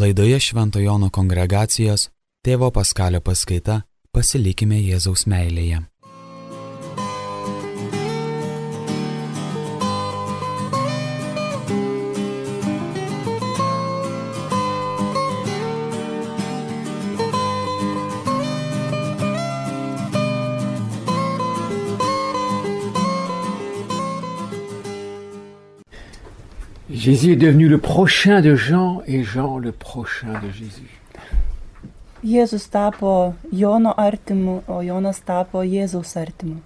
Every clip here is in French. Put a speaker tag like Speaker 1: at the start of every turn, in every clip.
Speaker 1: Laidoje Švento Jono kongregacijos tėvo Paskalio paskaita Pasilikime Jėzaus meilėje.
Speaker 2: Jésus est devenu le prochain de Jean et Jean le prochain de Jésus.
Speaker 3: Jėzus tapo Jono artimu, o Jonas tapo Jėzaus artimu.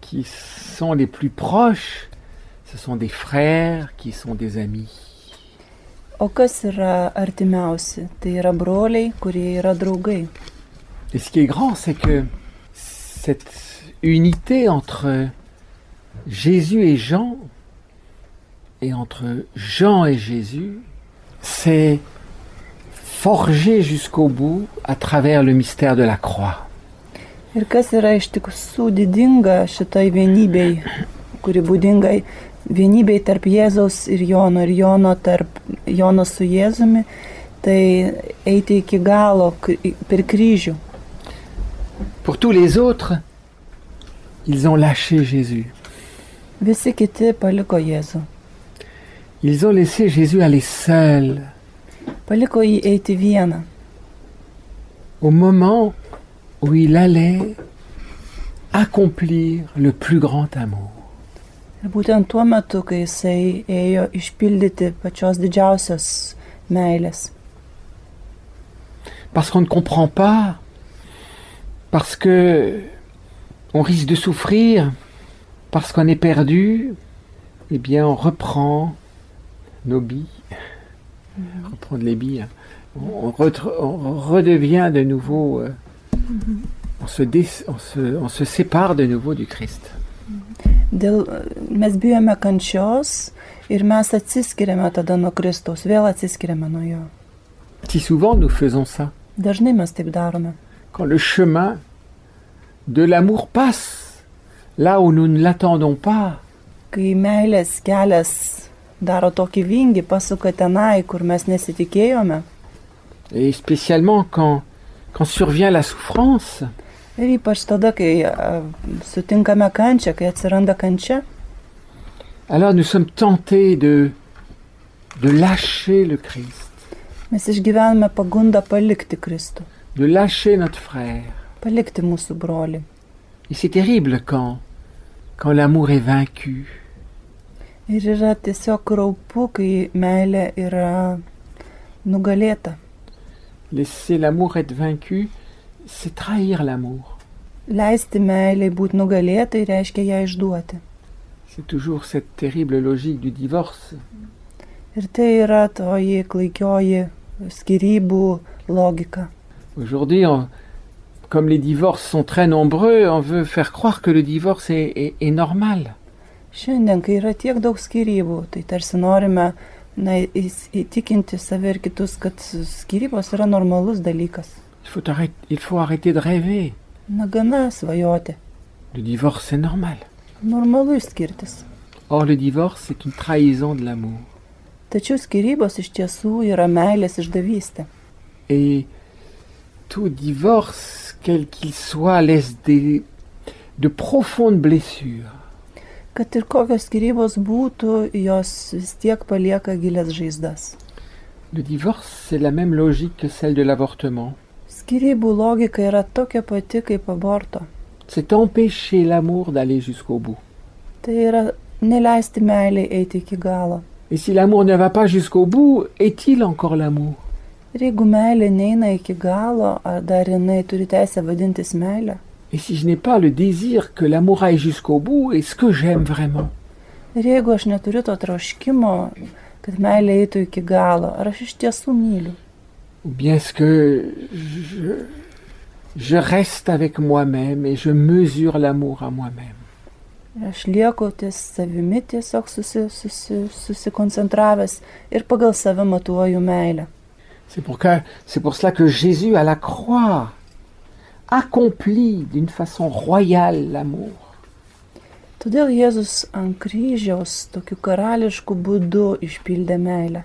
Speaker 2: Qui sont les plus proches, ce sont des frères qui sont des amis.
Speaker 3: O kas yra artimiausi? Tai yra broliai, kurie yra draugai.
Speaker 2: Et ce qui est grand, c'est que cette unité entre Jésus et Jean, et entre Jean et Jésus, c'est forgé jusqu'au bout à travers le mystère de la croix.
Speaker 3: Ir kas yra iš tiesų didinga šitoj vienybei, kuri būdingai vienybei tarp Jėzaus ir Jono ir Jono tarp Jono su Jėzumi, tai eiti iki galo k- per kryžių.
Speaker 2: Pour tous les autres, ils ont lâché Jésus.
Speaker 3: Visi kiti paliko Jėzų.
Speaker 2: Ils ont laissé Jésus aller seul
Speaker 3: Paliko jį eiti vieną.
Speaker 2: au moment où il allait accomplir le plus grand amour.
Speaker 3: Ir būtent tuo metu, kai jisai ėjo išpildyti pačios didžiausios meilės.
Speaker 2: Parce qu'on ne comprend pas, parce que on risque de souffrir, parce qu'on est perdu, eh bien on reprend nos billes, reprendre les billes. On, on retr- on redevient de nouveau, euh, on, se dé- on se- on se sépare de nouveau du Christ.
Speaker 3: Dėl, mes bijome kančios ir mes atsiskiriame tada nuo Kristaus, vėl atsiskiriame nuo jo.
Speaker 2: Si souvent nous faisons ça,
Speaker 3: Dažnai mes taip darome.
Speaker 2: quand le chemin de l'amour passe là où nous ne l'attendons pas,
Speaker 3: Kai meilės kelias daro tokį vingį, pasuka tenai, kur mes nesitikėjome.
Speaker 2: et spécialement quand, quand survient la souffrance,
Speaker 3: Ir ypač tada, kai a, sutinkame kančią, kai atsiranda kančia,
Speaker 2: Alors nous sommes tentés de, de lâcher le Christ,
Speaker 3: mes išgyvename pagundą palikti Kristų,
Speaker 2: de lâcher notre frère.
Speaker 3: palikti mūsų brolį.
Speaker 2: Et c'est terrible quand, quand l'amour est vaincu,
Speaker 3: Ir yra tiesiog raupu, kai meilė yra nugalėta.
Speaker 2: laisser l'amour être vaincu, c'est trahir l'amour.
Speaker 3: Leisti meiliai būti nugalėtai reiškia ją išduoti.
Speaker 2: C'est toujours cette terrible logique du divorce.
Speaker 3: Ir tai yra toji klaikioji skirybų logika.
Speaker 2: Aujourd'hui, on- comme les divorces sont très nombreux, on veut faire croire que le divorce est, est- est normal.
Speaker 3: Šiandien, kai yra tiek daug skirybų, tai tarsi norime na, įs- įtikinti save ir kitus, kad skirybos yra normalus dalykas.
Speaker 2: Il faut, arrêt- il faut arrêter de rêver.
Speaker 3: Na gana svajoti.
Speaker 2: Le divorce c'est normal.
Speaker 3: Normalu skirtis.
Speaker 2: Or, le divorce, c'est une trahison de l'amour.
Speaker 3: Tačiau skirybos iš tiesų yra meilės išdavystė.
Speaker 2: Et tout divorce, quel qu'il soit, laisse des, de profondes blessures.
Speaker 3: Kad ir kokios skirybos būtų, jos vis tiek palieka gilias žaizdas.
Speaker 2: Le divorce, c'est la même logique que celle de l'avortement.
Speaker 3: Skirybų logika yra tokia pati kaip aborto.
Speaker 2: C'est empêcher l'amour d'aller jusqu'au bout.
Speaker 3: Tai yra neleisti meiliai eiti iki galo.
Speaker 2: Et si l'amour ne va pas jusqu'au bout, est-il encore l'amour
Speaker 3: Ir jeigu meilė neina iki galo, ar dar jinai turi teisę vadintis meilė?
Speaker 2: Et si je n'ai pas le désir que l'amour aille jusqu'au bout, est-ce que j'aime vraiment
Speaker 3: Ir jeigu aš neturiu to troškimo, kad meilė eitų iki galo, ar aš iš tiesų myliu?
Speaker 2: Ou bien est-ce que je, je reste avec moi-même et je mesure l'amour à moi-même
Speaker 3: Ir aš lieku ties savimi tiesiog susi, susi, susikoncentravęs ir pagal save matuoju meilę.
Speaker 2: C'est pour, que- c'est pour cela que Jésus à la croix accomplit d'une façon royale l'amour.
Speaker 3: Todėl Jėzus ant kryžiaus tokiu karališku būdu išpildė meilę.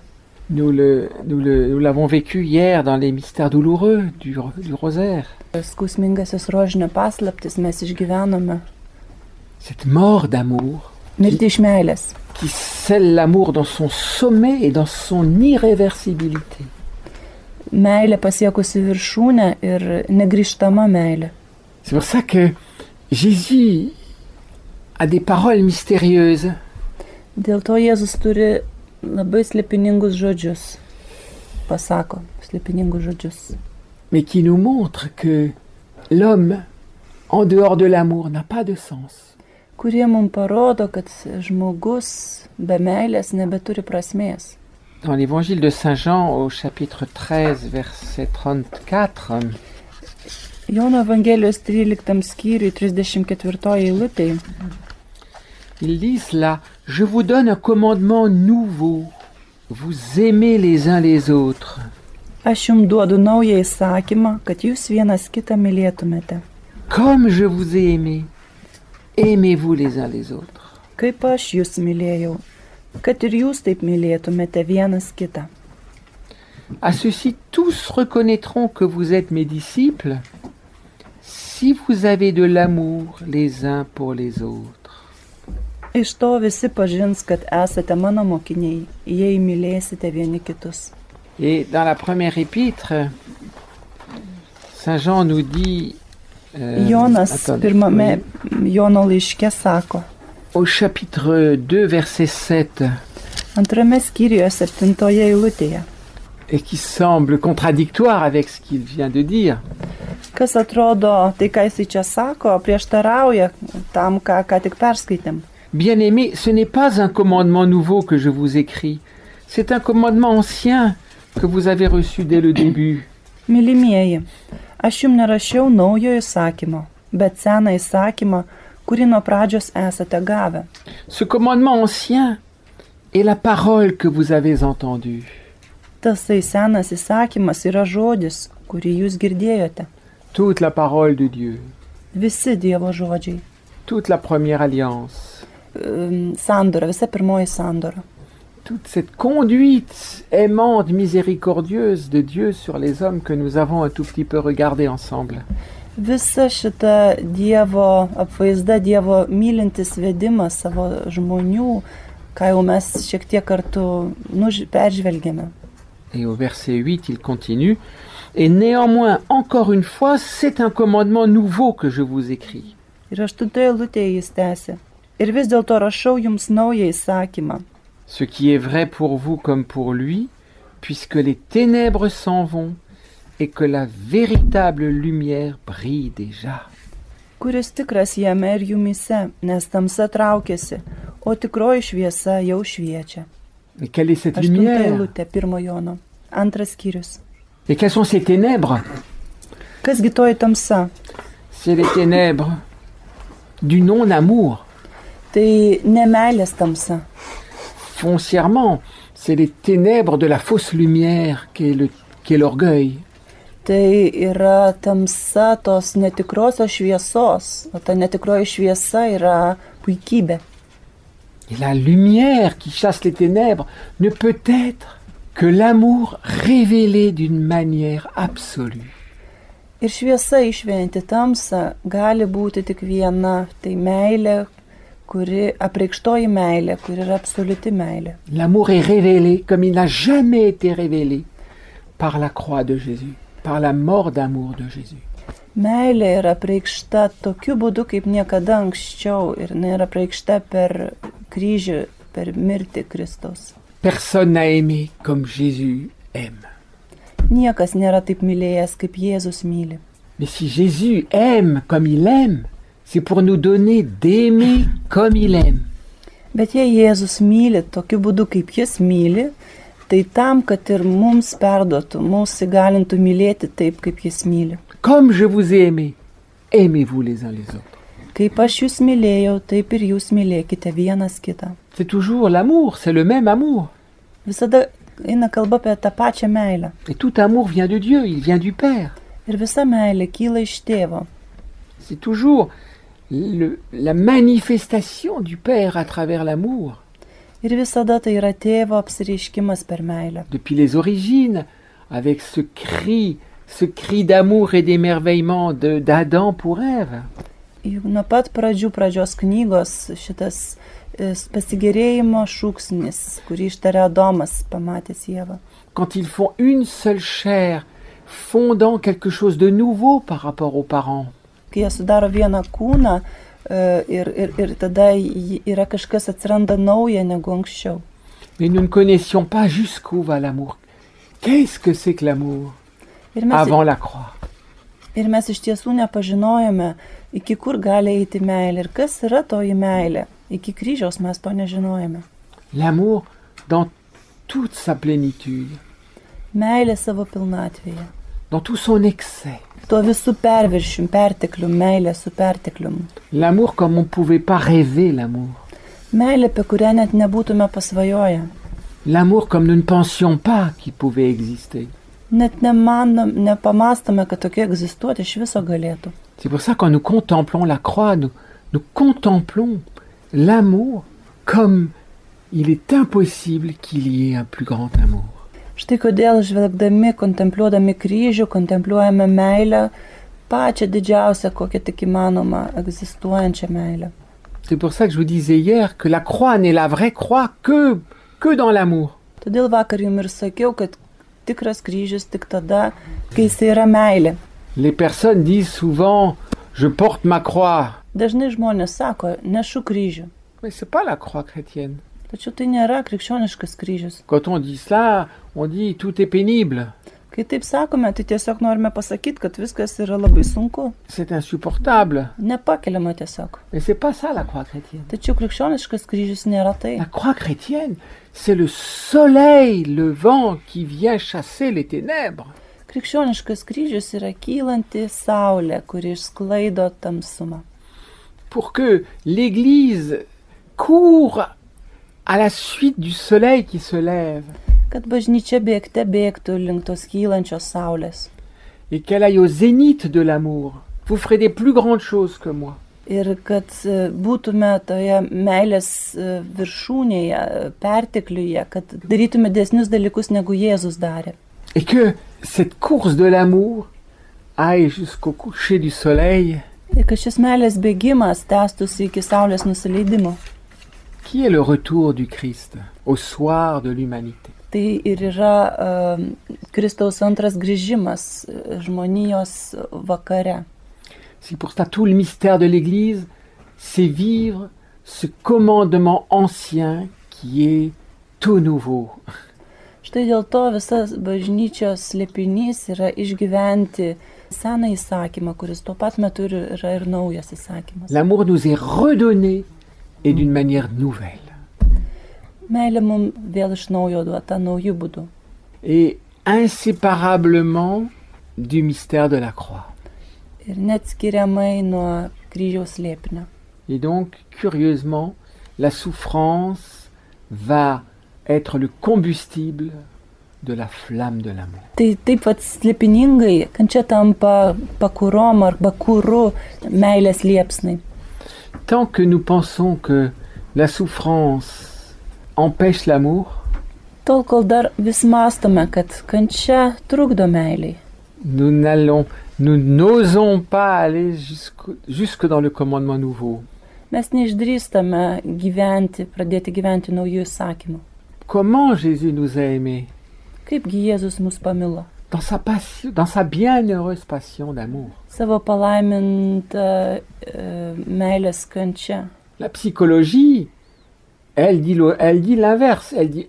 Speaker 2: Nous le, nous le- nous l'avons vécu hier dans les mystères douloureux du, ro- du rosaire.
Speaker 3: Skausmingasios rožinio paslaptis mes išgyvenome.
Speaker 2: Cette mort d'amour
Speaker 3: Mirti iš meilės,
Speaker 2: qui scelle l'amour dans son sommet et dans son irréversibilité.
Speaker 3: meilė pasiekusi viršūnę ir negryžtama meilė.
Speaker 2: C'est pour ça que Jésus a des paroles mystérieuses.
Speaker 3: Dėl to Jėzus turi labai slepiningus žodžius. Pasako slepiningus žodžius.
Speaker 2: mais qui nous montre que l'homme, en dehors de l'amour, n'a pas de sens.
Speaker 3: Kurie mums parodo, kad žmogus be meilės nebeturi prasmės.
Speaker 2: Dans l'évangile de Saint Jean au chapitre 13, verset 34,
Speaker 3: Jono Evangelijos 13 skyriui 34 eilutėje.
Speaker 2: il dit cela, Je vous donne un commandement nouveau. Vous aimez les uns les autres.
Speaker 3: Aš jums duodu naują įsakymą, kad jūs vienas kitą mylėtumėte.
Speaker 2: Comme je vous ai aimé, aimez-vous les uns les autres.
Speaker 3: Kaip aš jūs mylėjau, kad ir jūs taip mylėtumėte vienas kitą.
Speaker 2: À ceci, tous reconnaîtront que vous êtes mes disciples si vous avez de l'amour les uns pour les autres.
Speaker 3: Iš to visi pažins, kad esate mano mokiniai, jei mylėsite vieni kitus.
Speaker 2: Et dans la première épître, Saint Jean nous dit, euh,
Speaker 3: Jonas
Speaker 2: attendez,
Speaker 3: pirmame
Speaker 2: oui,
Speaker 3: Jono laiške sako,
Speaker 2: au chapitre 2, verset 7,
Speaker 3: antrame skyriuje septintoje eilutėje,
Speaker 2: et qui semble contradictoire avec ce qu'il vient de dire.
Speaker 3: kas atrodo, tai ką jis čia sako, prieštarauja tam, ką, ką tik perskaitėm.
Speaker 2: Bien-aimés, ce n'est pas un commandement nouveau que je vous écris, c'est un commandement ancien que vous avez reçu dès le début.
Speaker 3: Mylimieji, aš jums nerašiau naujo įsakymo, bet seną įsakymą, kurį nuo pradžios esate gavę.
Speaker 2: Ce commandement ancien est la parole que vous avez entendue.
Speaker 3: Tasai senas įsakymas yra žodis, kurį jūs girdėjote.
Speaker 2: Toute la parole de Dieu,
Speaker 3: Visi Dievo žodžiai.
Speaker 2: toute la première alliance,
Speaker 3: Ehm, Sandora, visa pirmoji sandora.
Speaker 2: toute cette conduite aimante, miséricordieuse de Dieu sur les hommes que nous avons un tout petit peu regardé ensemble.
Speaker 3: Visa šita Dievo apvaizda, Dievo mylintis vedimas savo žmonių, ką jau mes šiek tiek kartu nuž- peržvelgėme.
Speaker 2: Et au verset 8, il continue. Et néanmoins, encore une fois, c'est un commandement nouveau que je vous écris.
Speaker 3: Ir aštuntoje lūtėje jis tęsė. Ir vis dėlto rašau jums naują įsakymą.
Speaker 2: Ce qui est vrai pour vous comme pour lui, puisque les ténèbres s'en vont et que la véritable lumière brille déjà.
Speaker 3: kuris tikras jame ir jumise, nes tamsa traukiasi, o tikroji šviesa jau šviečia.
Speaker 2: Et quelle est cette
Speaker 3: Aštunta
Speaker 2: lumière
Speaker 3: eilutė, pirmo Jono. Antras skyrius.
Speaker 2: Et quelles sont ces ténèbres
Speaker 3: Kasgi toji tamsa?
Speaker 2: C'est les ténèbres du non-amour.
Speaker 3: Tai nemelės tamsa.
Speaker 2: foncièrement, c'est les ténèbres de la fausse lumière qu'est le- qu'est l'orgueil.
Speaker 3: Tai yra tamsa tos netikrosios šviesos, o ta netikroji šviesa yra puikybė.
Speaker 2: Et la lumière qui chasse les ténèbres ne peut être que l'amour révélé d'une manière absolue.
Speaker 3: Ir šviesa išventi tamsą gali būti tik viena, tai meilė, kuri apreikštoji meilė, kuri yra absoliuti meilė.
Speaker 2: L'amour est révélé comme il n'a jamais été révélé par la croix de Jésus, par la mort d'amour de Jésus.
Speaker 3: Meilė yra preikšta tokiu būdu, kaip niekada anksčiau ir jinai yra preikšta per kryžių, per mirtį Kristaus.
Speaker 2: Personne n'a aimé comme Jésus aime.
Speaker 3: Niekas nėra taip mylėjęs, kaip Jėzus myli.
Speaker 2: Mais si Jésus aime comme il aime, c'est pour nous donner d'aimer comme il aime.
Speaker 3: Bet jei Jėzus myli tokiu būdu, kaip jis myli, tai tam, kad ir mums perduotų, mūsų įgalintų mylėti taip, kaip jis myli.
Speaker 2: Comme je vous ai aimé, aimez-vous les uns les autres.
Speaker 3: Kaip aš jūs mylėjau, taip ir jūs mylėkite vienas kitą.
Speaker 2: C'est toujours l'amour, c'est le même amour.
Speaker 3: Visada eina kalba apie tą pačią meilę.
Speaker 2: Et tout amour vient de Dieu, il vient du Père.
Speaker 3: Ir visa meilė kyla iš tėvo.
Speaker 2: C'est toujours le- la manifestation du Père à travers l'amour.
Speaker 3: Ir visada tai yra tėvo apsireiškimas per meilę.
Speaker 2: depuis les origines, avec ce cri, ce cri d'amour et d'émerveillement de- d'Adam pour Ève.
Speaker 3: Juk nuo pat pradžių pradžios knygos šitas e, s- pasigėrėjimo šūksnis, kurį ištarė Adomas pamatęs Jėvą.
Speaker 2: Quand ils font une seule chair, fondant quelque chose de nouveau par rapport aux parents.
Speaker 3: Kai jie sudaro vieną kūną e, ir, ir, ir tada ji- yra kažkas atsiranda nauja negu anksčiau.
Speaker 2: Mais nous ne connaissions pas jusqu'où va l'amour. Qu'est-ce que c'est que l'amour
Speaker 3: Ir mes,
Speaker 2: avant la croix
Speaker 3: ir mes iš tiesų nepažinojome, iki kur gali eiti meilė ir kas yra toji meilė. Iki kryžiaus mes to nežinojome.
Speaker 2: L'amour dans toute sa plénitude,
Speaker 3: Meilė savo pilnatvėje.
Speaker 2: dans tout son excès.
Speaker 3: Tuo visų perviršim, perteklium, meilė su perteklium.
Speaker 2: L'amour comme on ne pouvait pas rêver l'amour.
Speaker 3: Meilė, apie kurią net nebūtume pasvajoję.
Speaker 2: L'amour comme nous ne pensions pas qu'il pouvait exister.
Speaker 3: Net nemanom, nepamastome, kad tokia egzistuoti iš viso galėtų.
Speaker 2: C'est pour ça quand nous contemplons la croix, nous, nous contemplons l'amour comme il est impossible qu'il y ait un plus grand amour.
Speaker 3: Štai kodėl žvelgdami, kontempliuodami kryžių, kontempliuojame meilę, pačią didžiausią, kokią tik įmanoma egzistuojančią meilę.
Speaker 2: C'est pour ça que je vous disais hier que la croix n'est la vraie croix que, que dans l'amour.
Speaker 3: Todėl vakar jums ir sakiau, kad tikras kryžius tik tada, kai jis yra meilė.
Speaker 2: Les personnes disent souvent je porte ma croix.
Speaker 3: Dažnai žmonės sako, nešu kryžių.
Speaker 2: Mais c'est pas la croix chrétienne.
Speaker 3: Tačiau tai nėra krikščioniškas kryžius.
Speaker 2: Quand on dit cela, on dit tout est pénible,
Speaker 3: Kai taip sakome, tai tiesiog norime pasakyti, kad viskas yra labai sunku,
Speaker 2: c'est insupportable.
Speaker 3: nepakeliama tiesiog.
Speaker 2: Mais c'est pas ça la croix chrétienne.
Speaker 3: Tačiau krikščioniškas kryžius nėra tai.
Speaker 2: La croix chrétienne, c'est le soleil, le vent qui vient chasser les ténèbres.
Speaker 3: Krikščioniškas kryžius yra kylanti saulė, kuri išsklaido tamsumą.
Speaker 2: pour que l'Église court à la suite du soleil qui se lève
Speaker 3: Kad bažnyčia bėgte bėgtų link tos kylančios saulės.
Speaker 2: et qu'elle aille au zénith de l'amour. Vous ferez des plus grandes choses que moi.
Speaker 3: Ir kad e, būtume toje meilės e, viršūnėje, e, pertekliuje, kad darytume desnius dalykus, negu Jėzus darė.
Speaker 2: Et que cette course de l'amour aille jusqu'au coucher du soleil,
Speaker 3: Ir kad šis meilės bėgimas tęstųsi iki saulės nusileidimo.
Speaker 2: qui est le retour du Christ au soir de l'humanité.
Speaker 3: Tai ir yra e, Kristaus antras grįžimas e, žmonijos vakare.
Speaker 2: C'est pour ça tout le mystère de l'Église, c'est vivre ce commandement ancien qui est tout nouveau.
Speaker 3: Štai dėl to visas bažnyčios slėpinys yra išgyventi seną įsakymą, kuris tuo pat metu ir yra ir naujas įsakymas.
Speaker 2: L'amour nous est redonné et d'une manière nouvelle.
Speaker 3: Meilė mums vėl iš naujo duota naujų būdų
Speaker 2: et inséparablement du mystère de la croix.
Speaker 3: ir neatskiriamai nuo kryžiaus slėpinio.
Speaker 2: Et donc, curieusement, la souffrance va être le combustible de la flamme de l'amour.
Speaker 3: Tai taip pat slėpiningai, kančia tampa pakurom arba kūru meilės liepsnai.
Speaker 2: Tant que nous pensons que la souffrance empêche l'amour,
Speaker 3: Tol, kol dar vis mastome, kad kančia trukdo meiliai.
Speaker 2: nous n'allons, nous n'osons pas aller jusqu'au- jusque dans le commandement nouveau.
Speaker 3: Mes neišdrįstame gyventi, pradėti gyventi naujų įsakymų.
Speaker 2: Comment Jésus nous a aimés
Speaker 3: Kaipgi Jėzus mus pamilo?
Speaker 2: dans sa passion, dans sa bienheureuse passion d'amour.
Speaker 3: Savo palaimintą e, meilės kančią.
Speaker 2: La psychologie, elle dit, le- elle dit l'inverse. Elle dit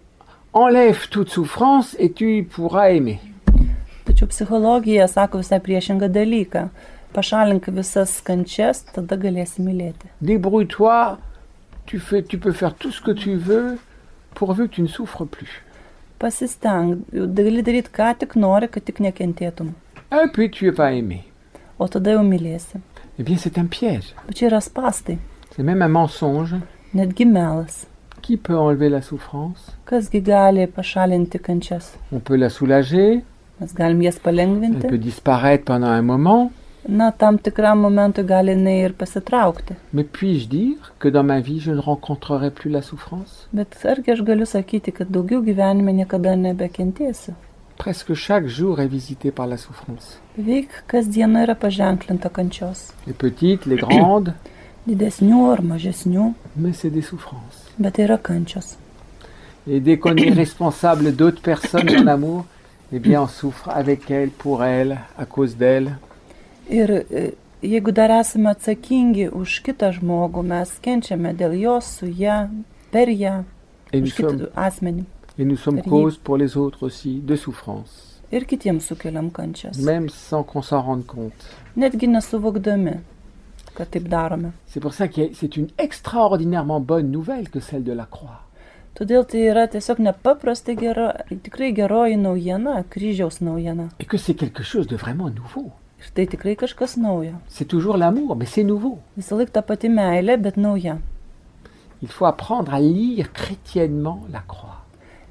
Speaker 2: enlève toute souffrance et tu pourras aimer.
Speaker 3: Tačiau psichologija sako visai priešingą dalyką. Pašalink visas kančias, tada galėsi mylėti.
Speaker 2: Débrouille-toi, tu, fais- tu peux faire tout ce que tu veux pourvu que tu ne souffres plus.
Speaker 3: Pasisteng, gali daryti ką tik nori, kad tik nekentėtum.
Speaker 2: Et puis tu es pas aimé.
Speaker 3: O tada jau mylėsi.
Speaker 2: Eh bien, c'est un piège.
Speaker 3: Bet čia yra spastai,
Speaker 2: C'est même un mensonge.
Speaker 3: netgi melas.
Speaker 2: Qui peut enlever la souffrance
Speaker 3: Kasgi gali pašalinti kančias?
Speaker 2: On peut la soulager,
Speaker 3: Mes galim jas
Speaker 2: elle
Speaker 3: palengvinti.
Speaker 2: peut disparaître pendant un moment,
Speaker 3: na, tam tikram momentui gali jinai ir pasitraukti.
Speaker 2: Mais puis-je dire que dans ma vie, je ne rencontrerai plus la souffrance
Speaker 3: Bet argi aš galiu sakyti, kad daugiau gyvenime niekada nebekentėsiu?
Speaker 2: Presque chaque jour est visité par la souffrance.
Speaker 3: Veik kasdiena yra paženklinta kančios.
Speaker 2: Les petites, les grandes,
Speaker 3: Didesnių ar mažesnių,
Speaker 2: mais c'est des souffrances.
Speaker 3: bet tai yra kančios.
Speaker 2: Et dès qu'on est responsable d'autres personnes en amour, eh bien on souffre avec elles, pour elles, à cause d'elles.
Speaker 3: Ir e, jeigu dar esame atsakingi už kitą žmogų, mes kenčiame dėl jos, su ją, per ją,
Speaker 2: Et nous
Speaker 3: už
Speaker 2: sommes,
Speaker 3: kitą asmenį.
Speaker 2: et nous sommes
Speaker 3: Rive.
Speaker 2: cause pour les autres aussi de souffrance,
Speaker 3: Ir kitiems sukeliam kančias.
Speaker 2: même sans qu'on s'en rende compte.
Speaker 3: Netgi nesuvokdami, kad taip darome.
Speaker 2: C'est pour ça que c'est une extraordinairement bonne nouvelle que celle de la croix.
Speaker 3: Todėl tai yra tiesiog nepaprastai gera, tikrai geroji naujiena, kryžiaus naujiena.
Speaker 2: Et que c'est quelque chose de vraiment nouveau.
Speaker 3: Ir tai tikrai kažkas naujo.
Speaker 2: C'est toujours l'amour, mais c'est nouveau.
Speaker 3: Visą laiką ta pati meilė, bet nauja.
Speaker 2: Il faut apprendre à lire chrétiennement la croix,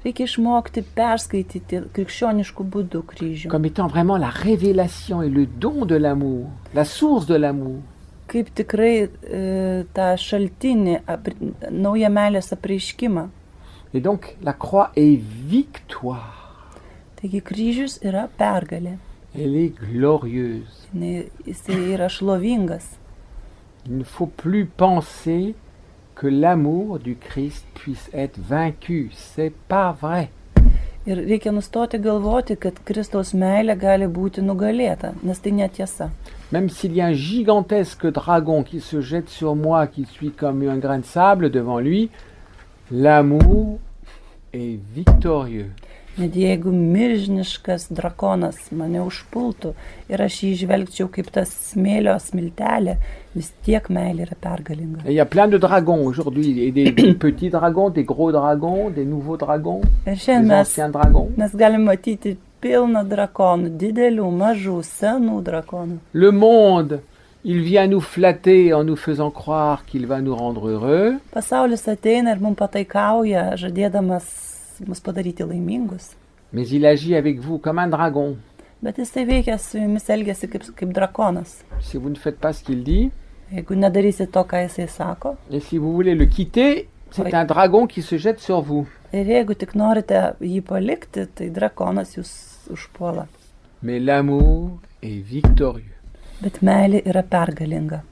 Speaker 3: Reikia išmokti perskaityti krikščioniškų būdų kryžių.
Speaker 2: comme étant vraiment la révélation et le don de l'amour, la source de l'amour.
Speaker 3: Kaip tikrai e, tą šaltinį, apri, naują meilės apreiškimą.
Speaker 2: Et donc la croix est victoire.
Speaker 3: Taigi kryžius yra pergalė.
Speaker 2: Elle est glorieuse.
Speaker 3: Jinai- Jisai yra šlovingas.
Speaker 2: Il ne faut plus penser que l'amour du Christ puisse être vaincu. C'est pas vrai.
Speaker 3: Ir reikia nustoti galvoti, kad Kristaus meilė gali būti nugalėta, nes tai netiesa.
Speaker 2: Même s'il y a un gigantesque dragon qui se jette sur moi, qui suis comme un grain de sable devant lui, l'amour est victorieux.
Speaker 3: Net jeigu milžiniškas drakonas mane užpultų ir aš jį žvelgčiau kaip tas smėlio smiltelė, vis tiek meilė yra pergalinga.
Speaker 2: Et il y a plein de dragons aujourd'hui, et des, des petits dragons, des gros dragons, des nouveaux dragons,
Speaker 3: Ir
Speaker 2: des
Speaker 3: šiandien mes,
Speaker 2: anciens dragons.
Speaker 3: mes galime matyti pilną drakonų, didelių, mažų, senų drakonų.
Speaker 2: Le monde, il vient nous flatter en nous faisant croire qu'il va nous rendre heureux.
Speaker 3: Pasaulis ateina ir mums pataikauja, žadėdamas mus padaryti laimingus.
Speaker 2: Mais il agit avec vous comme un dragon.
Speaker 3: Bet jisai veikia su jumis elgesi kaip, kaip drakonas.
Speaker 2: Si vous ne faites pas ce qu'il dit,
Speaker 3: Jeigu nedarysi to, ką jisai sako,
Speaker 2: et si vous voulez le quitter,
Speaker 3: Oui.
Speaker 2: c'est un dragon qui se jette sur vous.
Speaker 3: ir jeigu tik norite jį palikti, tai drakonas jūs užpuola.
Speaker 2: Mais l'amour est victorieux.
Speaker 3: Bet meilė yra pergalinga.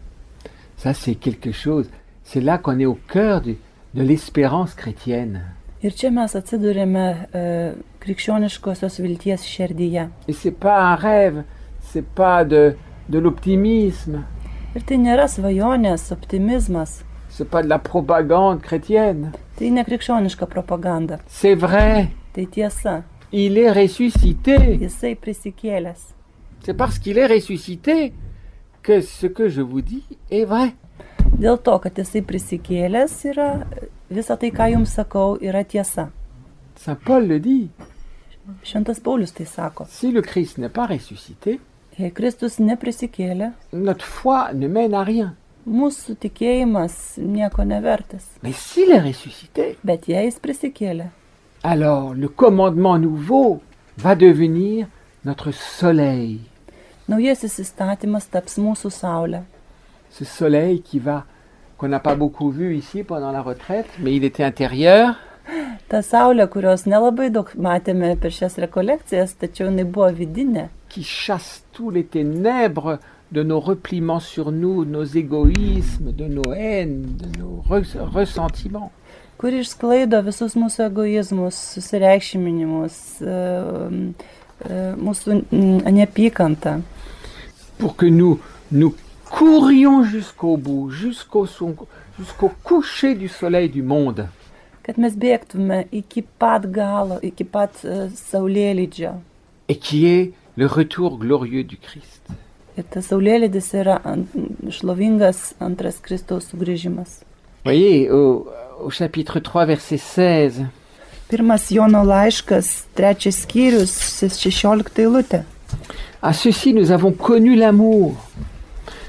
Speaker 2: Ça, c'est quelque chose. C'est là qu'on est au cœur du- de l'espérance chrétienne.
Speaker 3: Ir čia mes atsidurėme e, krikščioniškosios vilties širdyje.
Speaker 2: Et c'est pas un rêve, c'est pas de, de l'optimisme,
Speaker 3: Ir tai nėra svajonės, optimizmas.
Speaker 2: c'est pas de la propagande chrétienne.
Speaker 3: Tai nekrikščioniška propaganda.
Speaker 2: C'est vrai,
Speaker 3: Tai tiesa.
Speaker 2: il est ressuscité.
Speaker 3: Jisai prisikėlęs.
Speaker 2: C'est parce qu'il est ressuscité que ce que je vous dis est vrai.
Speaker 3: Dėl to, kad jisai prisikėlęs yra, visa tai, ką jums sakau, yra tiesa.
Speaker 2: Saint Paul le dit.
Speaker 3: Šventas Paulius tai sako.
Speaker 2: Si le Christ n'est pas ressuscité,
Speaker 3: Jei Kristus neprisikėlė,
Speaker 2: notre foi ne mène à rien.
Speaker 3: mūsų tikėjimas nieko nevertas.
Speaker 2: Mais s'il est ressuscité,
Speaker 3: Bet jei jis prisikėlė,
Speaker 2: alors le commandement nouveau va devenir notre soleil.
Speaker 3: naujasis įstatymas taps mūsų saulė.
Speaker 2: Ce soleil qui va, qu'on n'a pas beaucoup vu ici pendant la retraite, mais il était intérieur.
Speaker 3: Ta saulė, kurios nelabai daug matėme per šias rekolekcijas, tačiau jinai buvo vidinė.
Speaker 2: qui chasse tous les ténèbres de nos repliements sur nous, de nos égoïsmes, de nos haines, de nos re- ressentiments.
Speaker 3: kuri išsklaido visus mūsų egoizmus, susireikšminimus, em, em, mūsų mm, neapykantą,
Speaker 2: Pour que nous, nous courions jusqu'au bout, jusqu'au son- jusqu'au coucher du soleil du monde.
Speaker 3: kad mes bėgtume iki pat galo, iki pat e, saulėlydžio.
Speaker 2: Et qui est le retour glorieux du Christ.
Speaker 3: Ir tas saulėlydis yra ant, šlovingas antras Kristaus sugrįžimas.
Speaker 2: Voyez, au, au chapitre 3, verset 16,
Speaker 3: Pirmas Jono laiškas, trečias skyrius, 16 eilutė.
Speaker 2: à ceci nous avons connu l'amour.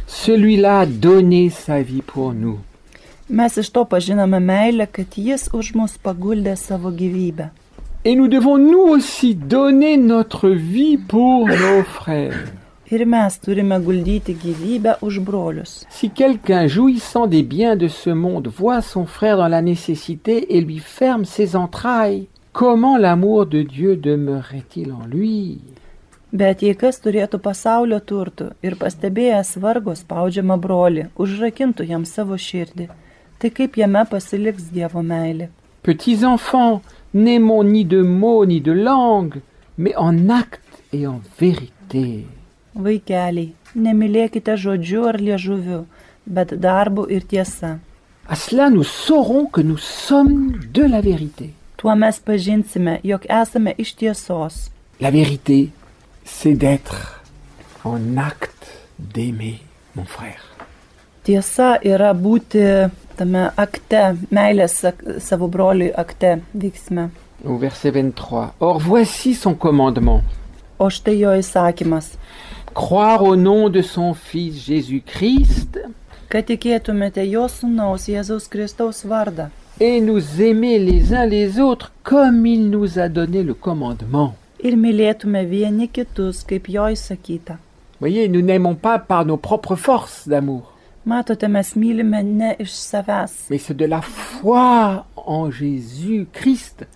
Speaker 2: Celui-là a donné sa vie pour nous.
Speaker 3: Mes iš to pažinome meilę, kad jis už mus paguldė savo gyvybę.
Speaker 2: Et nous devons nous aussi donner notre vie pour nos frères.
Speaker 3: Ir mes turime guldyti gyvybę už brolius.
Speaker 2: Si quelqu'un jouissant des biens de ce monde voit son frère dans la nécessité et lui ferme ses entrailles, comment l'amour de Dieu demeurait-il en lui
Speaker 3: Bet jei kas turėtų pasaulio turtų ir pastebėjęs vargo spaudžiamą brolį, užrakintų jam savo širdį, tai kaip jame pasiliks Dievo meilė?
Speaker 2: Petits enfants, n'aimons ni de mots ni de langue, mais en actes et en vérité.
Speaker 3: Vaikeliai, nemylėkite žodžiu ar liežuviu, bet darbu ir tiesa.
Speaker 2: À cela nous saurons que nous sommes de la vérité.
Speaker 3: Tuo mes pažinsime, jog esame iš tiesos.
Speaker 2: La vérité, c'est d'être en acte d'aimer mon frère.
Speaker 3: Tiesa yra būti tame akte, meilės ak- savo broliui akte veiksme.
Speaker 2: Au verset 23. Or voici son commandement.
Speaker 3: O štai jo įsakymas,
Speaker 2: Croire au nom de son Fils Jésus-Christ
Speaker 3: kad tikėtumėte jo sunaus Jėzaus Kristaus vardą
Speaker 2: et nous aimer les uns les autres comme il nous a donné le commandement.
Speaker 3: ir mylėtume vieni kitus, kaip jo įsakyta.
Speaker 2: Voyez, nous n'aimons pas par nos propres forces d'amour,
Speaker 3: Matote, mes mylime ne iš savęs,
Speaker 2: mais c'est de la foi en Jésus-Christ,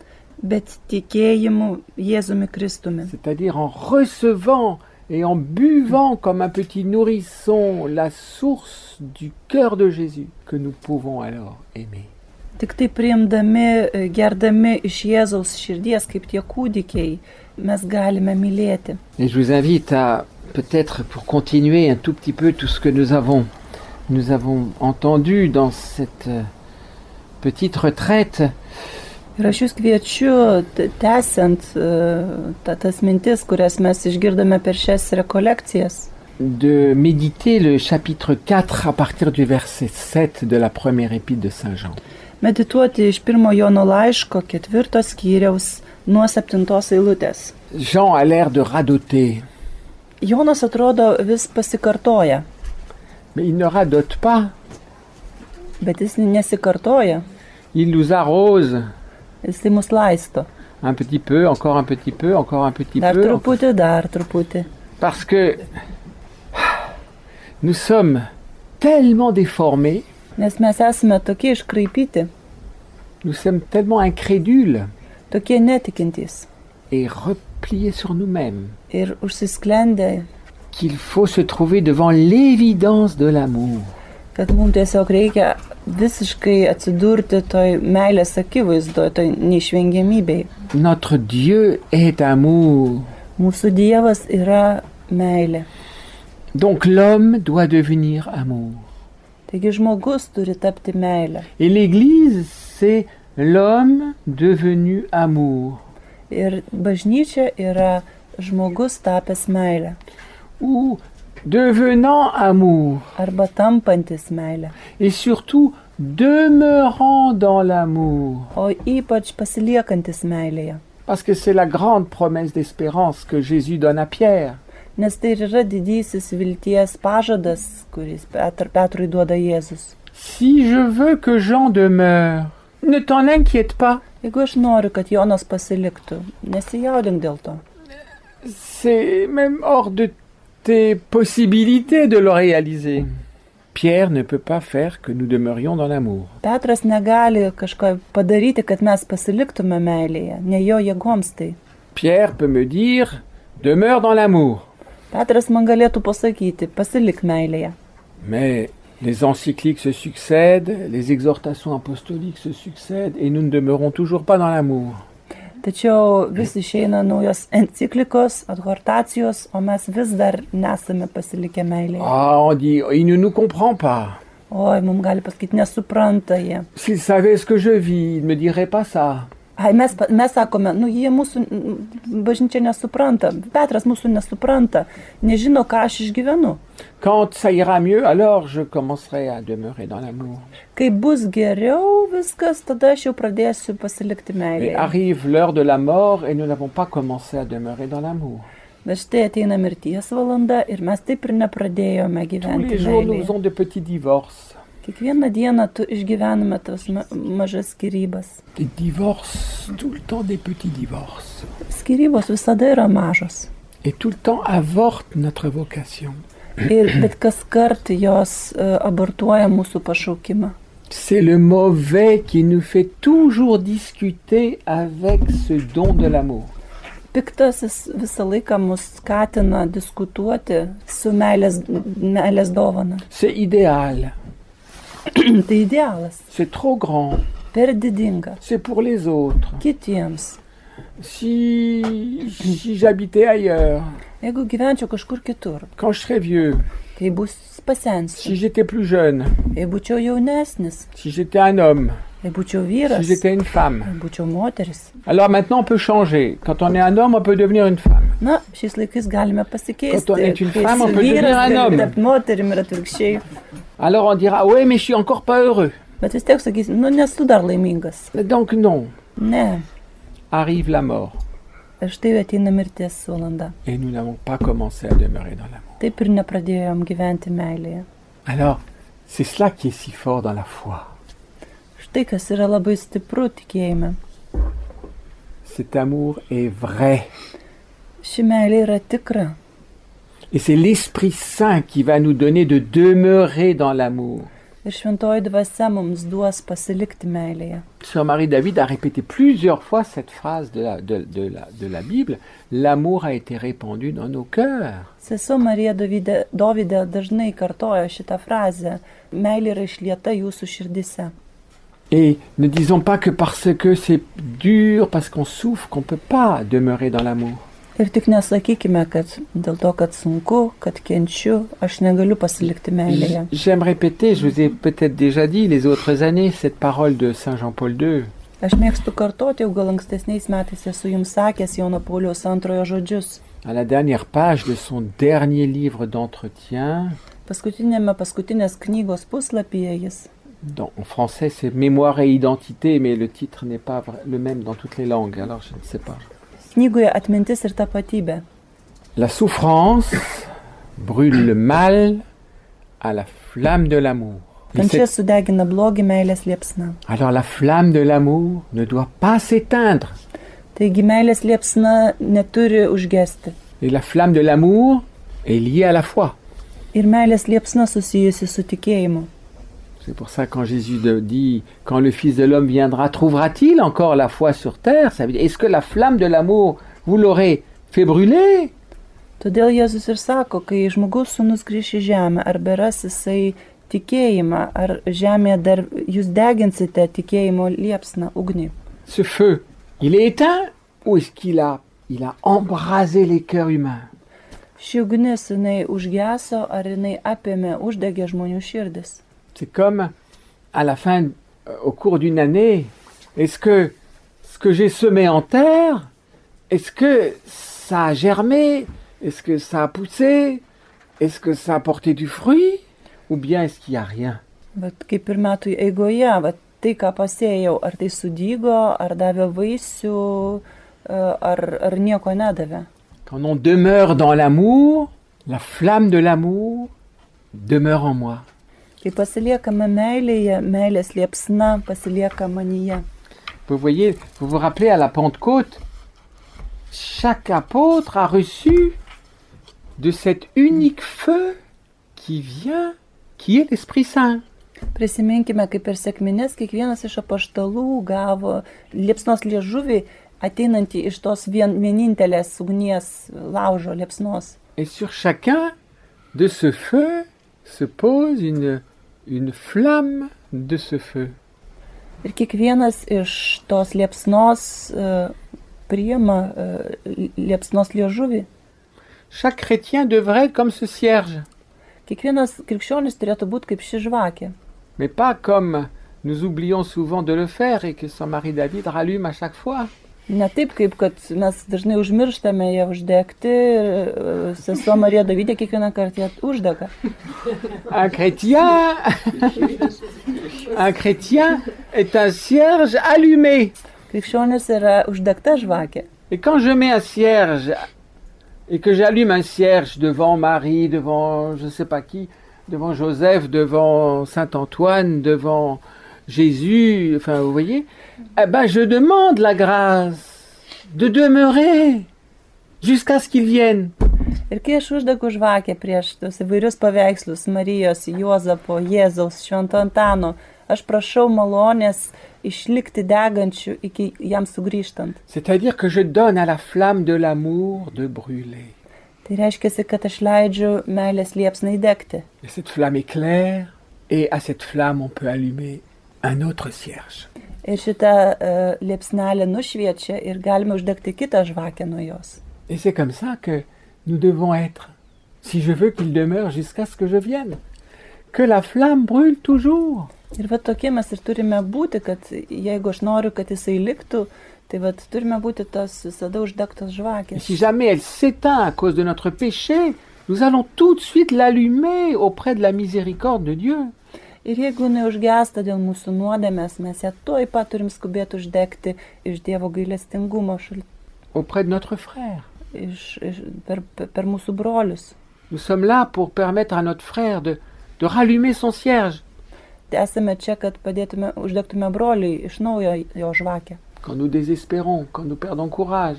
Speaker 3: bet tikėjimu Jėzumi Kristumi.
Speaker 2: c'est-à-dire en recevant et en buvant comme un petit nourrisson la source du cœur de Jésus que nous pouvons alors aimer.
Speaker 3: Tik tai priimdami, e, gerdami iš Jėzaus širdies, kaip tie kūdikiai, mes galime mylėti.
Speaker 2: Et je vous invite à, peut-être pour continuer un tout petit peu tout ce que nous avons, nous avons entendu dans cette euh, petite retraite,
Speaker 3: Ir aš jūs kviečiu, t- tęsiant e, ta, tas mintis, kurias mes išgirdome per šias rekolekcijas,
Speaker 2: de méditer le chapitre 4 à partir du verset 7 de la première épître de Saint Jean.
Speaker 3: medituoti iš pirmo Jono laiško ketvirtos skyriaus nuo septintos eilutės.
Speaker 2: Jean a l'air de radoter,
Speaker 3: Jonas atrodo vis pasikartoja,
Speaker 2: mais il ne radote pas,
Speaker 3: bet jis nesikartoja,
Speaker 2: il nous arrose
Speaker 3: jisai mus laisto.
Speaker 2: un petit peu, encore un petit peu, encore un petit
Speaker 3: Dar
Speaker 2: peu,
Speaker 3: truputį, dar truputį.
Speaker 2: parce que nous sommes tellement déformés,
Speaker 3: Nes mes esame tokie iškraipyti,
Speaker 2: nous sommes tellement incrédules.
Speaker 3: tokie netikintys
Speaker 2: et repliés sur nous-mêmes,
Speaker 3: ir užsisklendę,
Speaker 2: qu'il faut se trouver devant l'évidence de l'amour.
Speaker 3: kad mums tiesiog reikia visiškai atsidurti toj meilės akivaizdoje, toj neišvengiamybei.
Speaker 2: Notre Dieu est amour.
Speaker 3: Mūsų Dievas yra meilė.
Speaker 2: Donc l'homme doit devenir amour.
Speaker 3: Taigi žmogus turi tapti meilę.
Speaker 2: Et l'Église, c'est l'homme devenu amour.
Speaker 3: Ir bažnyčia yra žmogus tapęs meilę
Speaker 2: Ou devenant amour.
Speaker 3: arba tampantis meilę.
Speaker 2: Et surtout, demeurant dans l'amour.
Speaker 3: o ypač pasiliekantis meilėje.
Speaker 2: Parce que c'est la grande promesse d'espérance que Jésus donne à Pierre.
Speaker 3: Nes tai ir yra didysis vilties pažadas, kuris Petr, Petrui duoda Jėzus.
Speaker 2: Si je veux que Jean demeure, ne t'en inquiète pas.
Speaker 3: Jeigu aš noriu, kad Jonas pasiliktų, nesijaudink dėl to.
Speaker 2: C'est même hors de tes possibilités de le réaliser. Pierre ne peut pas faire que nous demeurions dans l'amour.
Speaker 3: Petras negali kažko padaryti, kad mes pasiliktume meilėje, ne jo jėgoms tai.
Speaker 2: Pierre peut me dire demeure dans l'amour.
Speaker 3: Petras man galėtų pasakyti, pasilik meilėje.
Speaker 2: Mais les encycliques se succèdent, les exhortations apostoliques se succèdent et nous ne demeurons toujours pas dans l'amour.
Speaker 3: Tačiau vis išeina naujos enciklikos, adhortacijos, o mes vis dar nesame pasilikę meilėje.
Speaker 2: Ah, on dit il ne nous comprend pas.
Speaker 3: Oi, mums gali pasakyti, nesupranta jie.
Speaker 2: S'il savait ce que je vis, il ne me dirait pas ça.
Speaker 3: Ai, mes, pa- mes sakome, nu jie mūsų mm, bažnyčia nesupranta, Petras mūsų nesupranta, nežino, ką aš išgyvenu.
Speaker 2: Quand ça ira mieux, alors je commencerai à demeurer dans l'amour.
Speaker 3: Kai bus geriau viskas, tada aš jau pradėsiu pasilikti
Speaker 2: Mais
Speaker 3: meilėje.
Speaker 2: arrive l'heure de la mort et nous n'avons pas commencé à demeurer dans l'amour.
Speaker 3: Bet štai ateina mirties valanda ir mes taip ir nepradėjome
Speaker 2: Tous les
Speaker 3: gyventi.
Speaker 2: jours, nous
Speaker 3: meilėje.
Speaker 2: faisons de petits divorces.
Speaker 3: Kiekvieną dieną tu išgyvename tas ma mažas skirybas.
Speaker 2: Des divorces, tout le temps des petits divorces.
Speaker 3: Skirybos visada yra mažos.
Speaker 2: et tout le temps avorte notre vocation.
Speaker 3: Ir bet kas kart jos e, abortuoja mūsų pašaukimą.
Speaker 2: C'est le mauvais qui nous fait toujours discuter avec ce don de l'amour.
Speaker 3: Piktasis visą laiką mus skatina diskutuoti su meilės, meilės dovana.
Speaker 2: C'est idéal,
Speaker 3: tai idealas.
Speaker 2: c'est trop grand,
Speaker 3: Per didinga.
Speaker 2: c'est pour les autres.
Speaker 3: Kitiems.
Speaker 2: Si, si j'habitais ailleurs,
Speaker 3: Jeigu gyvenčiau kažkur kitur,
Speaker 2: quand je serais vieux,
Speaker 3: kai bus
Speaker 2: si
Speaker 3: pasensiu,
Speaker 2: j'étais plus jeune,
Speaker 3: jei būčiau jaunesnis,
Speaker 2: si j'étais un homme,
Speaker 3: jei būčiau
Speaker 2: si
Speaker 3: vyras,
Speaker 2: j'étais une femme.
Speaker 3: jei būčiau moteris.
Speaker 2: Alors maintenant, on peut changer. Quand on est un homme, on peut devenir une femme.
Speaker 3: Na, šiais laikais galime
Speaker 2: Kad
Speaker 3: pasikeisti.
Speaker 2: tu net une
Speaker 3: Kai
Speaker 2: femme,
Speaker 3: esi
Speaker 2: on peut
Speaker 3: vyras,
Speaker 2: devenir un
Speaker 3: gali
Speaker 2: homme.
Speaker 3: tapt moterim ir atvirkščiai.
Speaker 2: Alors on dira, ouais, mais je suis encore pas heureux.
Speaker 3: Bet vis tiek sakysi, nu nesu dar laimingas.
Speaker 2: Donc non,
Speaker 3: Ne,
Speaker 2: arrive la mort.
Speaker 3: ir štai ateina mirties valanda.
Speaker 2: Et nous n'avons pas commencé à demeurer dans l'amour.
Speaker 3: Taip ir nepradėjom gyventi meilėje.
Speaker 2: Alors, c'est cela qui est si fort dans la foi.
Speaker 3: Štai kas yra labai stipru tikėjime.
Speaker 2: Cet amour est vrai.
Speaker 3: Ši meilė yra tikra.
Speaker 2: Et c'est l'Esprit Saint qui va nous donner de demeurer dans l'amour.
Speaker 3: Ir šventoji dvasia mums duos pasilikti meilėje.
Speaker 2: Sœur Marie-David a répété plusieurs fois cette phrase de la, de, de la, de la Bible. L'amour a été répandu dans nos cœurs.
Speaker 3: Sesuo Marija Dovydė, Dovydė dažnai kartojo šitą frazę. Meilė yra išlieta jūsų širdise.
Speaker 2: Et ne disons pas que parce que c'est dur, parce qu'on souffre, qu'on ne peut pas demeurer dans l'amour.
Speaker 3: Ir tik nesakykime, kad dėl to, kad sunku, kad kenčiu, aš negaliu pasilikti meilėje.
Speaker 2: J'aime répéter, je vous ai peut-être déjà dit les autres années, cette parole de Saint Jean-Paul II.
Speaker 3: Aš mėgstu kartoti, jau gal ankstesniais metais esu jums sakęs Jono Pauliaus antrojo žodžius.
Speaker 2: À la dernière page de son dernier livre d'entretien,
Speaker 3: Paskutinėme paskutinės knygos puslapyje jis.
Speaker 2: dans- en français c'est Mémoire et identité, mais le titre n'est pas vra- le même dans toutes les langues, alors je ne sais pas.
Speaker 3: Knygoje atmintis ir tapatybė.
Speaker 2: La souffrance brûle le mal à la flamme de l'amour. Et
Speaker 3: Kančia
Speaker 2: cette-
Speaker 3: sudegina blogį meilės liepsna.
Speaker 2: Alors la flamme de l'amour ne doit pas s'éteindre.
Speaker 3: Taigi meilės liepsna neturi užgesti.
Speaker 2: Et la flamme de l'amour est liée à la foi.
Speaker 3: Ir meilės liepsna susijusi su tikėjimu.
Speaker 2: C'est pour ça quand Jésus de- dit quand le Fils de l'homme viendra, trouvera-t-il encore la foi sur terre Ça veut dire, Est-ce que la flamme de l'amour, vous l'aurez fait brûler
Speaker 3: Todėl Jėzus ir sako, kai žmogus sunus grįš į žemę, ar beras jisai tikėjimą, ar žemėje dar jūs deginsite tikėjimo liepsną ugnį.
Speaker 2: Ce feu, il est éteint ou est-ce qu'il a, il a embrasé les cœurs humains
Speaker 3: Ši ugnis jinai užgeso, ar jinai apėmė, uždegė žmonių širdis.
Speaker 2: C'est comme à la fin, euh, au cours d'une année, est-ce que ce que j'ai semé en terre, est-ce que ça a germé Est-ce que ça a poussé Est-ce que ça a porté du fruit Ou bien est-ce qu'il n'y a rien
Speaker 3: Bet kaip ir metų eigoje, vat, tai ką pasėjau, ar tai sudygo, ar davė vaisių, e, ar, ar nieko nedavė.
Speaker 2: Quand on demeure dans l'amour, la flamme de l'amour demeure en moi.
Speaker 3: Kai pasiliekame Tai meilėje, meilės liepsna pasilieka manyje.
Speaker 2: Vous voyez, vous vous rappelez à la Pentecôte, chaque apôtre a reçu de cet unique feu qui vient, qui est l'Esprit Saint.
Speaker 3: Prisiminkime, kaip ir sėkminės, kiekvienas iš apaštalų gavo liepsnos liežuvį, ateinantį iš tos vien, vienintelės ugnies laužo liepsnos.
Speaker 2: Et sur chacun de ce feu se pose une, une flamme de ce feu.
Speaker 3: Ir kiekvienas iš tos liepsnos e, priema e, liepsnos liežuvį.
Speaker 2: Chaque chrétien devrait être comme ce cierge,
Speaker 3: Kiekvienas krikščionis turėtų būti kaip ši žvakė.
Speaker 2: mais pas comme nous oublions souvent de le faire et que Saint Marie-David rallume à chaque fois.
Speaker 3: Ne taip, kaip kad mes dažnai užmirštame ją uždegti ir e, sesuo Marija Davydė kiekvieną kartą ją uždega.
Speaker 2: Un chrétien, un chrétien est un cierge allumé.
Speaker 3: Krikščionis yra uždegta žvakė.
Speaker 2: Et quand je mets un cierge et que j'allume un cierge devant Marie, devant je ne sais pas qui, devant Joseph, devant Saint Antoine, devant Jésus, enfin vous voyez, eh ben je demande la grâce de demeurer jusqu'à ce qu'il vienne.
Speaker 3: Ir kai aš uždegu žvakę prieš tos įvairius paveikslus Marijos, Juozapo, Jėzaus, Švento Antano, aš prašau malonės išlikti degančių iki jam sugrįžtant.
Speaker 2: C'est-à-dire que je donne à la flamme de l'amour de brûler.
Speaker 3: Tai reiškia, kad aš leidžiu meilės liepsnai degti.
Speaker 2: Et cette flamme éclaire, et à cette flamme on peut allumer un autre cierge.
Speaker 3: Ir šitą uh, liepsnelę nušviečia ir galime uždegti kitą žvakę nuo jos.
Speaker 2: Et c'est comme ça que nous devons être, si je veux qu'il demeure jusqu'à ce que je vienne. Que la flamme brûle toujours.
Speaker 3: Ir va tokie mes ir turime būti, kad jeigu aš noriu, kad jisai liktų, tai va turime būti tos visada uždegtos
Speaker 2: Et
Speaker 3: žvakės.
Speaker 2: si jamais elle s'éteint à cause de notre péché, nous allons tout de suite l'allumer auprès de la miséricorde de Dieu.
Speaker 3: Ir jeigu neužgesta dėl mūsų nuodėmės, mes ją tuoj pat turim skubėti uždegti iš Dievo gailestingumo, šal,
Speaker 2: auprès de notre frère.
Speaker 3: iš, iš, per, per mūsų brolius.
Speaker 2: Nous sommes là pour permettre à notre frère de, de rallumer son cierge.
Speaker 3: Esame čia, kad padėtume, uždegtume broliui iš naujo jo žvakę.
Speaker 2: Quand nous désespérons, quand nous perdons courage,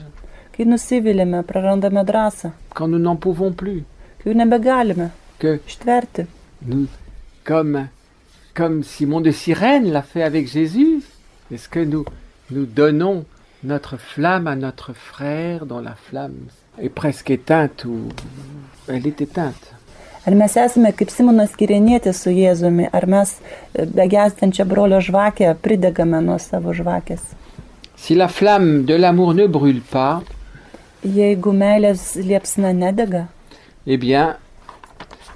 Speaker 3: Kai nusivylėme, prarandame drąsą,
Speaker 2: quand nous n'en pouvons plus,
Speaker 3: kai jau nebegalime
Speaker 2: que
Speaker 3: ištverti.
Speaker 2: nous, comme, comme Simon de Cyrène l'a fait avec Jésus, est-ce que nous, nous donnons notre flamme à notre frère dont la flamme est presque éteinte ou elle est éteinte
Speaker 3: Ar mes esame kaip Simonas Kirinėtis su Jėzumi, ar mes e, begęstančią brolio žvakę pridegame nuo savo žvakės.
Speaker 2: Si la flamme de l'amour ne brûle pas,
Speaker 3: Jeigu meilės liepsna nedega,
Speaker 2: eh bien,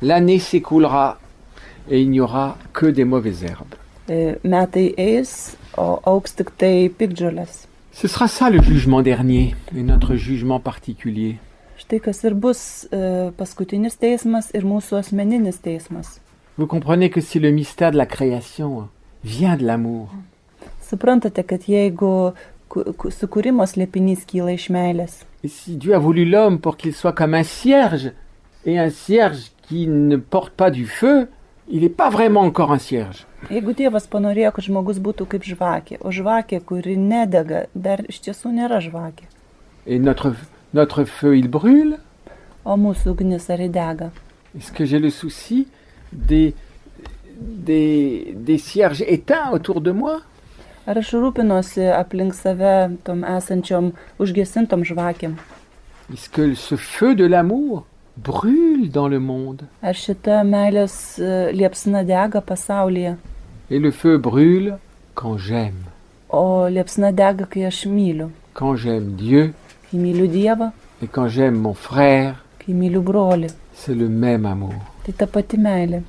Speaker 2: l'année s'écoulera et il n'y aura que des mauvaises herbes.
Speaker 3: e, metai eis, o auks tik tai pikdžiulės.
Speaker 2: Ce sera ça le jugement dernier et notre jugement particulier.
Speaker 3: Štai kas ir bus e, paskutinis teismas ir mūsų asmeninis teismas.
Speaker 2: Vous comprenez que si le mystère de la création vient de l'amour,
Speaker 3: Suprantate, kad jeigu ku- ku- sukūrimo slėpinys kyla iš meilės,
Speaker 2: et si Dieu a voulu l'homme pour qu'il soit comme un cierge, et un cierge qui ne porte pas du feu, il n'est pas vraiment encore un cierge.
Speaker 3: Jeigu Dievas panorėjo, kad žmogus būtų kaip žvakė, o žvakė, kuri nedega, dar iš tiesų nėra žvakė,
Speaker 2: Et notre, notre feu, il brûle.
Speaker 3: o mūsų ugnis ar įdega.
Speaker 2: Est-ce que j'ai le souci des, des, des cierges éteints autour de moi
Speaker 3: Ar aš rūpinosi aplink save tom esančiom užgesintom žvakėm?
Speaker 2: Est-ce que ce feu de l'amour brûle dans le monde
Speaker 3: Ar šita meilės e, liepsna dega pasaulyje,
Speaker 2: Et le feu brûle quand j'aime.
Speaker 3: o liepsna dega, kai aš myliu.
Speaker 2: Quand j'aime Dieu
Speaker 3: Kai myliu Dievą,
Speaker 2: et quand j'aime mon frère,
Speaker 3: kai myliu brolį.
Speaker 2: c'est le même amour.
Speaker 3: Tai ta pati meilė.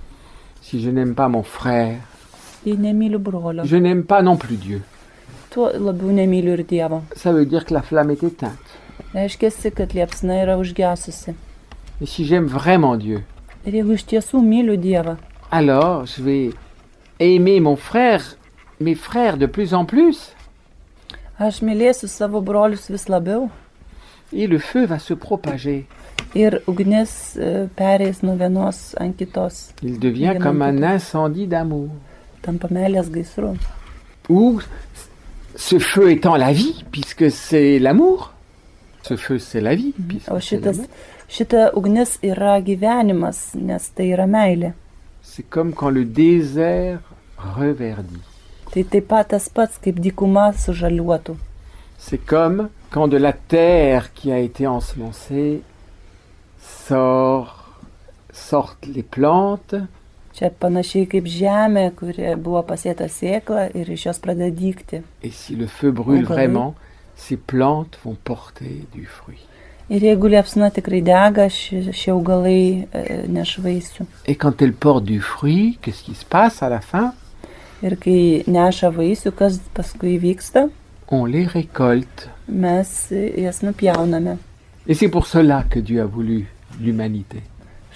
Speaker 2: Si je n'aime pas mon frère,
Speaker 3: Jei nemyliu brolio,
Speaker 2: je n'aime pas non plus Dieu.
Speaker 3: tuo labiau nemyliu ir Dievo.
Speaker 2: Ça veut dire que la flamme est éteinte.
Speaker 3: Reiškia, kad liepsna yra užgesusi.
Speaker 2: Et si j'aime vraiment Dieu,
Speaker 3: Ir jeigu iš tiesų myliu Dievą,
Speaker 2: alors je vais aimer mon frère, mes frères de plus en plus,
Speaker 3: Aš mylėsiu savo brolius vis labiau
Speaker 2: et le feu va se propager.
Speaker 3: ir ugnis e, pereis nuo vienos ant kitos,
Speaker 2: Il devient
Speaker 3: Il y a
Speaker 2: comme
Speaker 3: même
Speaker 2: un
Speaker 3: pas
Speaker 2: incendie d'amour.
Speaker 3: tampa meilės gaisru.
Speaker 2: Ou ce feu étant la vie, puisque c'est l'amour. Ce feu, c'est la vie. puisque
Speaker 3: O
Speaker 2: c'est
Speaker 3: šitas,
Speaker 2: l'amour.
Speaker 3: šita ugnis yra gyvenimas, nes tai yra meilė.
Speaker 2: C'est comme quand le désert reverdit.
Speaker 3: Tai taip pat tas pats, kaip dykuma sužaliuotų.
Speaker 2: C'est comme quand de la terre qui a été ensemencée sort, sortent les plantes,
Speaker 3: Čia panašiai kaip žemė, kuri buvo pasėta sėkla ir iš jos pradeda dykti.
Speaker 2: et si le feu brûle
Speaker 3: Encore
Speaker 2: vraiment, ces plantes vont porter du fruit.
Speaker 3: Ir jeigu liepsna tikrai dega, ši- šie augalai e, nešvaisių.
Speaker 2: Et quand elles portent du fruit, qu'est-ce qui se passe à la fin
Speaker 3: Ir kai neša vaisių, kas paskui vyksta,
Speaker 2: On les récolte.
Speaker 3: mes e, jas nupjauname.
Speaker 2: Et c'est pour cela que Dieu a voulu l'humanité.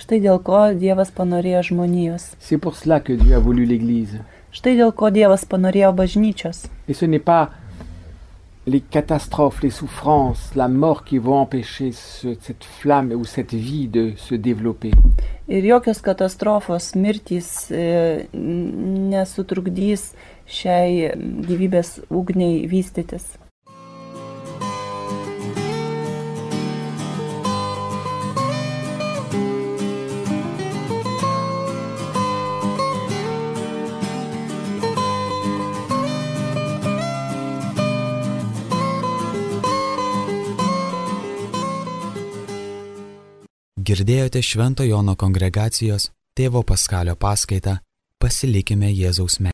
Speaker 3: Štai dėl ko Dievas panorėjo žmonijos.
Speaker 2: C'est pour cela que Dieu a voulu l'Église.
Speaker 3: Štai dėl ko Dievas panorėjo bažnyčios.
Speaker 2: Et ce n'est pas les catastrophes, les souffrances, la mort qui vont empêcher ce- cette flamme ou cette vie de se développer.
Speaker 3: Ir jokios katastrofos, mirtys e, n- nesutrukdys šiai gyvybės ugniai vystytis.
Speaker 1: Girdėjote Švento Jono kongregacijos tėvo Paskalio paskaitą Pasilikime Jėzaus meilėje.